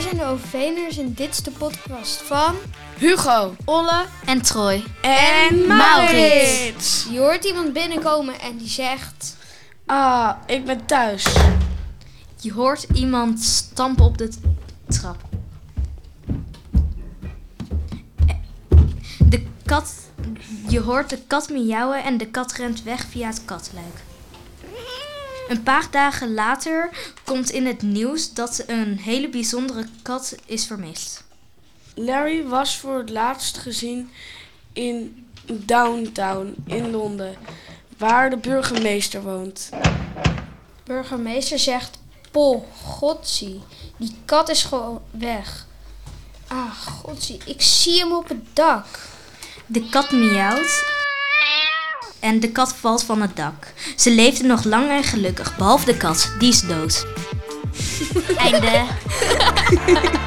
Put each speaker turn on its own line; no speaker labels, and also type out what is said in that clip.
zijn de Overveners en dit is de podcast van...
Hugo
Olle.
En Troy.
en Maurits.
Je hoort iemand binnenkomen en die zegt...
Ah, ik ben thuis.
Je hoort iemand stampen op de t- trap. De kat. Je hoort de kat miauwen en de kat rent weg via het katluik. Een paar dagen later komt in het nieuws dat een hele bijzondere kat is vermist.
Larry was voor het laatst gezien in Downtown in Londen, waar de burgemeester woont.
Burgemeester zegt... Pol, godsie, die kat is gewoon weg. Ah, godsie, ik zie hem op het dak.
De kat miauwt. En de kat valt van het dak. Ze leefde nog lang en gelukkig, behalve de kat, die is dood. Einde.